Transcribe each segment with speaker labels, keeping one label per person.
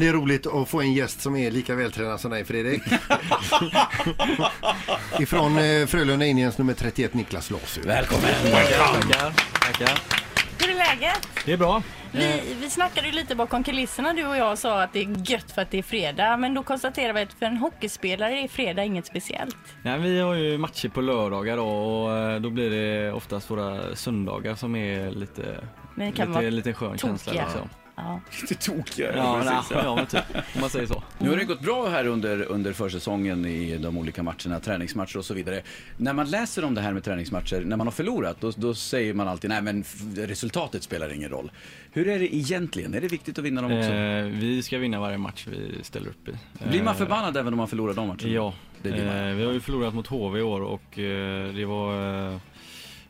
Speaker 1: Det är roligt att få en gäst som är lika vältränad som dig Fredrik. Ifrån eh, Frölunda Indians nummer 31 Niklas Lasu.
Speaker 2: Välkommen!
Speaker 3: Tackar, tackar.
Speaker 4: Hur är läget?
Speaker 3: Det är bra.
Speaker 4: Vi, vi snackade ju lite bakom kulisserna du och jag och sa att det är gött för att det är fredag. Men då konstaterade vi att för en hockeyspelare är fredag inget speciellt.
Speaker 3: Nej, vi har ju matcher på lördagar då och eh, då blir det oftast våra söndagar som är lite,
Speaker 4: Men det kan
Speaker 3: lite,
Speaker 4: vara
Speaker 3: lite skön känsla.
Speaker 4: tokiga.
Speaker 3: Liksom.
Speaker 4: Ja.
Speaker 5: Lite tokiga.
Speaker 3: Ja,
Speaker 5: Ja,
Speaker 3: nej,
Speaker 5: precis, ja.
Speaker 3: ja, men typ, om man säger så.
Speaker 2: Nu har det gått bra här under, under försäsongen i de olika matcherna, träningsmatcher och så vidare. När man läser om det här med träningsmatcher, när man har förlorat, då, då säger man alltid nej men f- resultatet spelar ingen roll. Hur är det egentligen? Är det viktigt att vinna dem också?
Speaker 3: Eh, vi ska vinna varje match vi ställer upp i.
Speaker 2: Blir man
Speaker 3: Eh,
Speaker 2: förbannad även om man förlorar de matcherna?
Speaker 3: Ja,
Speaker 2: Det blir man.
Speaker 3: eh, vi har ju förlorat mot HV i år och eh, det var... Eh,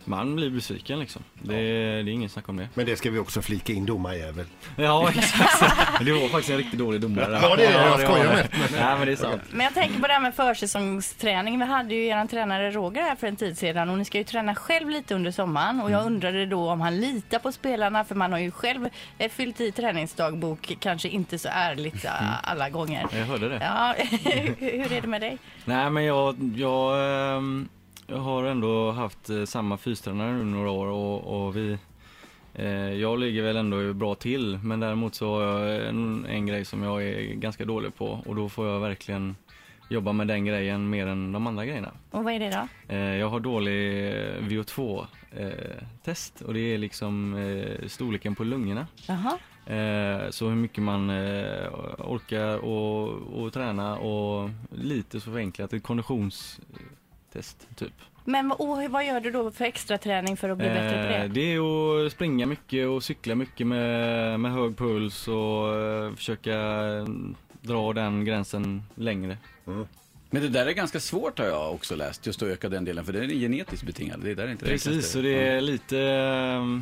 Speaker 3: man blir besviken liksom. Det, det är ingen snack om det.
Speaker 1: Men det ska vi också flika in domarjävel.
Speaker 3: Ja, exakt. Det var faktiskt en riktigt dålig domare.
Speaker 1: Ja, det är det. Jag
Speaker 3: var
Speaker 1: skojar
Speaker 3: det. Nej, men det är sant.
Speaker 4: Men jag tänker på det här med försäsongsträning. Vi hade ju er tränare Roger här för en tid sedan och ni ska ju träna själv lite under sommaren. Och jag undrade då om han litar på spelarna för man har ju själv eh, fyllt i träningsdagbok, kanske inte så ärligt eh, alla gånger.
Speaker 3: Jag hörde det.
Speaker 4: Ja, hur är det med dig?
Speaker 3: Nej men jag, jag, ehm, jag har ändå haft eh, samma fystränare nu några år och, och vi eh, jag ligger väl ändå bra till men däremot så har jag en, en grej som jag är ganska dålig på och då får jag verkligen jobba med den grejen mer än de andra grejerna.
Speaker 4: Och vad är det då?
Speaker 3: Eh, jag har dålig eh, VO2-test eh, och det är liksom eh, storleken på lungorna.
Speaker 4: Jaha.
Speaker 3: Eh, Så hur mycket man eh, orkar och, och träna och lite så förenklat ett konditionstest typ.
Speaker 4: Men och, vad gör du då för extra träning för att bli bättre på
Speaker 3: Eh,
Speaker 4: det?
Speaker 3: Det är att springa mycket och cykla mycket med, med hög puls och eh, försöka eh, dra den gränsen längre.
Speaker 2: Men det där är ganska svårt har jag också läst, just att öka den delen, för den är genetiskt betingad. Det är där inte det
Speaker 3: Precis,
Speaker 2: enklaste.
Speaker 3: så det är lite, eh,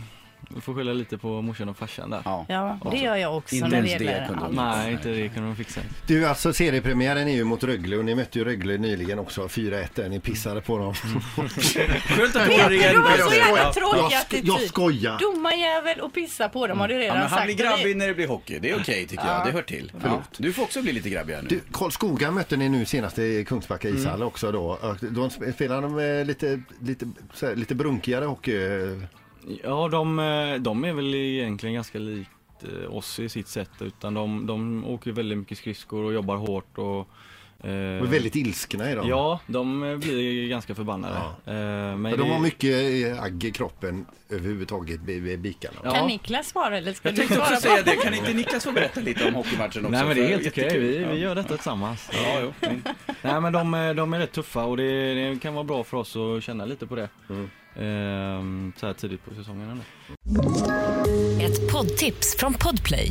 Speaker 3: vi får skylla lite på morsan och farsan där.
Speaker 2: Ja. alltså,
Speaker 4: Ja, det gör jag också
Speaker 2: Inte
Speaker 4: när det
Speaker 2: ens det
Speaker 4: gäller
Speaker 2: kunde
Speaker 4: allt.
Speaker 2: de.
Speaker 3: Nej, inte det kan de fixa.
Speaker 1: Du, alltså seriepremiären är ju mot Rögle och ni mötte ju Rögle nyligen också, 4-1 där ni pissade på dem.
Speaker 4: Mm.
Speaker 2: Skönt att
Speaker 4: Peter,
Speaker 2: få det
Speaker 4: du
Speaker 2: igen.
Speaker 4: har så
Speaker 2: Peter.
Speaker 4: jävla
Speaker 2: Ja.
Speaker 1: Jag
Speaker 4: tråkig
Speaker 1: sk-
Speaker 4: attityd.
Speaker 1: jag skojar.
Speaker 4: Domarjävel och pissa på dem har du
Speaker 2: Mm. Ja,
Speaker 4: redan
Speaker 2: men
Speaker 4: sagt.
Speaker 2: han blir
Speaker 4: Och det-
Speaker 2: grabbig när det blir hockey. Det är okej tycker jag. Det hör till. Ja. Du får också bli lite grabbig här nu.
Speaker 1: Du, Karlskoga mötte ni nu senast i Kungsbacka
Speaker 4: Mm.
Speaker 1: ishall också då. Och Då sp- spelade de eh, lite, lite, så här, lite brunkigare hockey. eh,
Speaker 3: Ja, de, eh, de är väl egentligen ganska likt eh, oss i sitt sätt. Utan de, de åker ju väldigt mycket skridskor och jobbar hårt. Och, eh,
Speaker 1: Och väldigt ilskna är de.
Speaker 3: Ja, de eh, blir ganska förbannade.
Speaker 1: Ja.
Speaker 3: Eh, men
Speaker 1: Men de
Speaker 3: det-
Speaker 1: har mycket eh, agg i kroppen överhuvudtaget, bi- bi- bikarna.
Speaker 3: Ja.
Speaker 4: Kan Niklas svara eller ska
Speaker 2: Jag
Speaker 4: du
Speaker 2: tänkte
Speaker 4: svara?
Speaker 2: också
Speaker 4: på?
Speaker 2: säga det. Kan inte Niklas få berätta lite om hockeymatchen också?
Speaker 3: Nej men det är helt okej,
Speaker 2: Jättekul.
Speaker 3: vi,
Speaker 2: Ja.
Speaker 3: vi gör detta tillsammans. Mm.
Speaker 2: Ja, jo.
Speaker 3: Nej men de, är- de är rätt tuffa och det, det kan vara bra för oss att känna lite på det.
Speaker 1: Mm.
Speaker 3: Eh, så här tidigt på säsongen ändå.
Speaker 6: Ett poddtips från Podplay.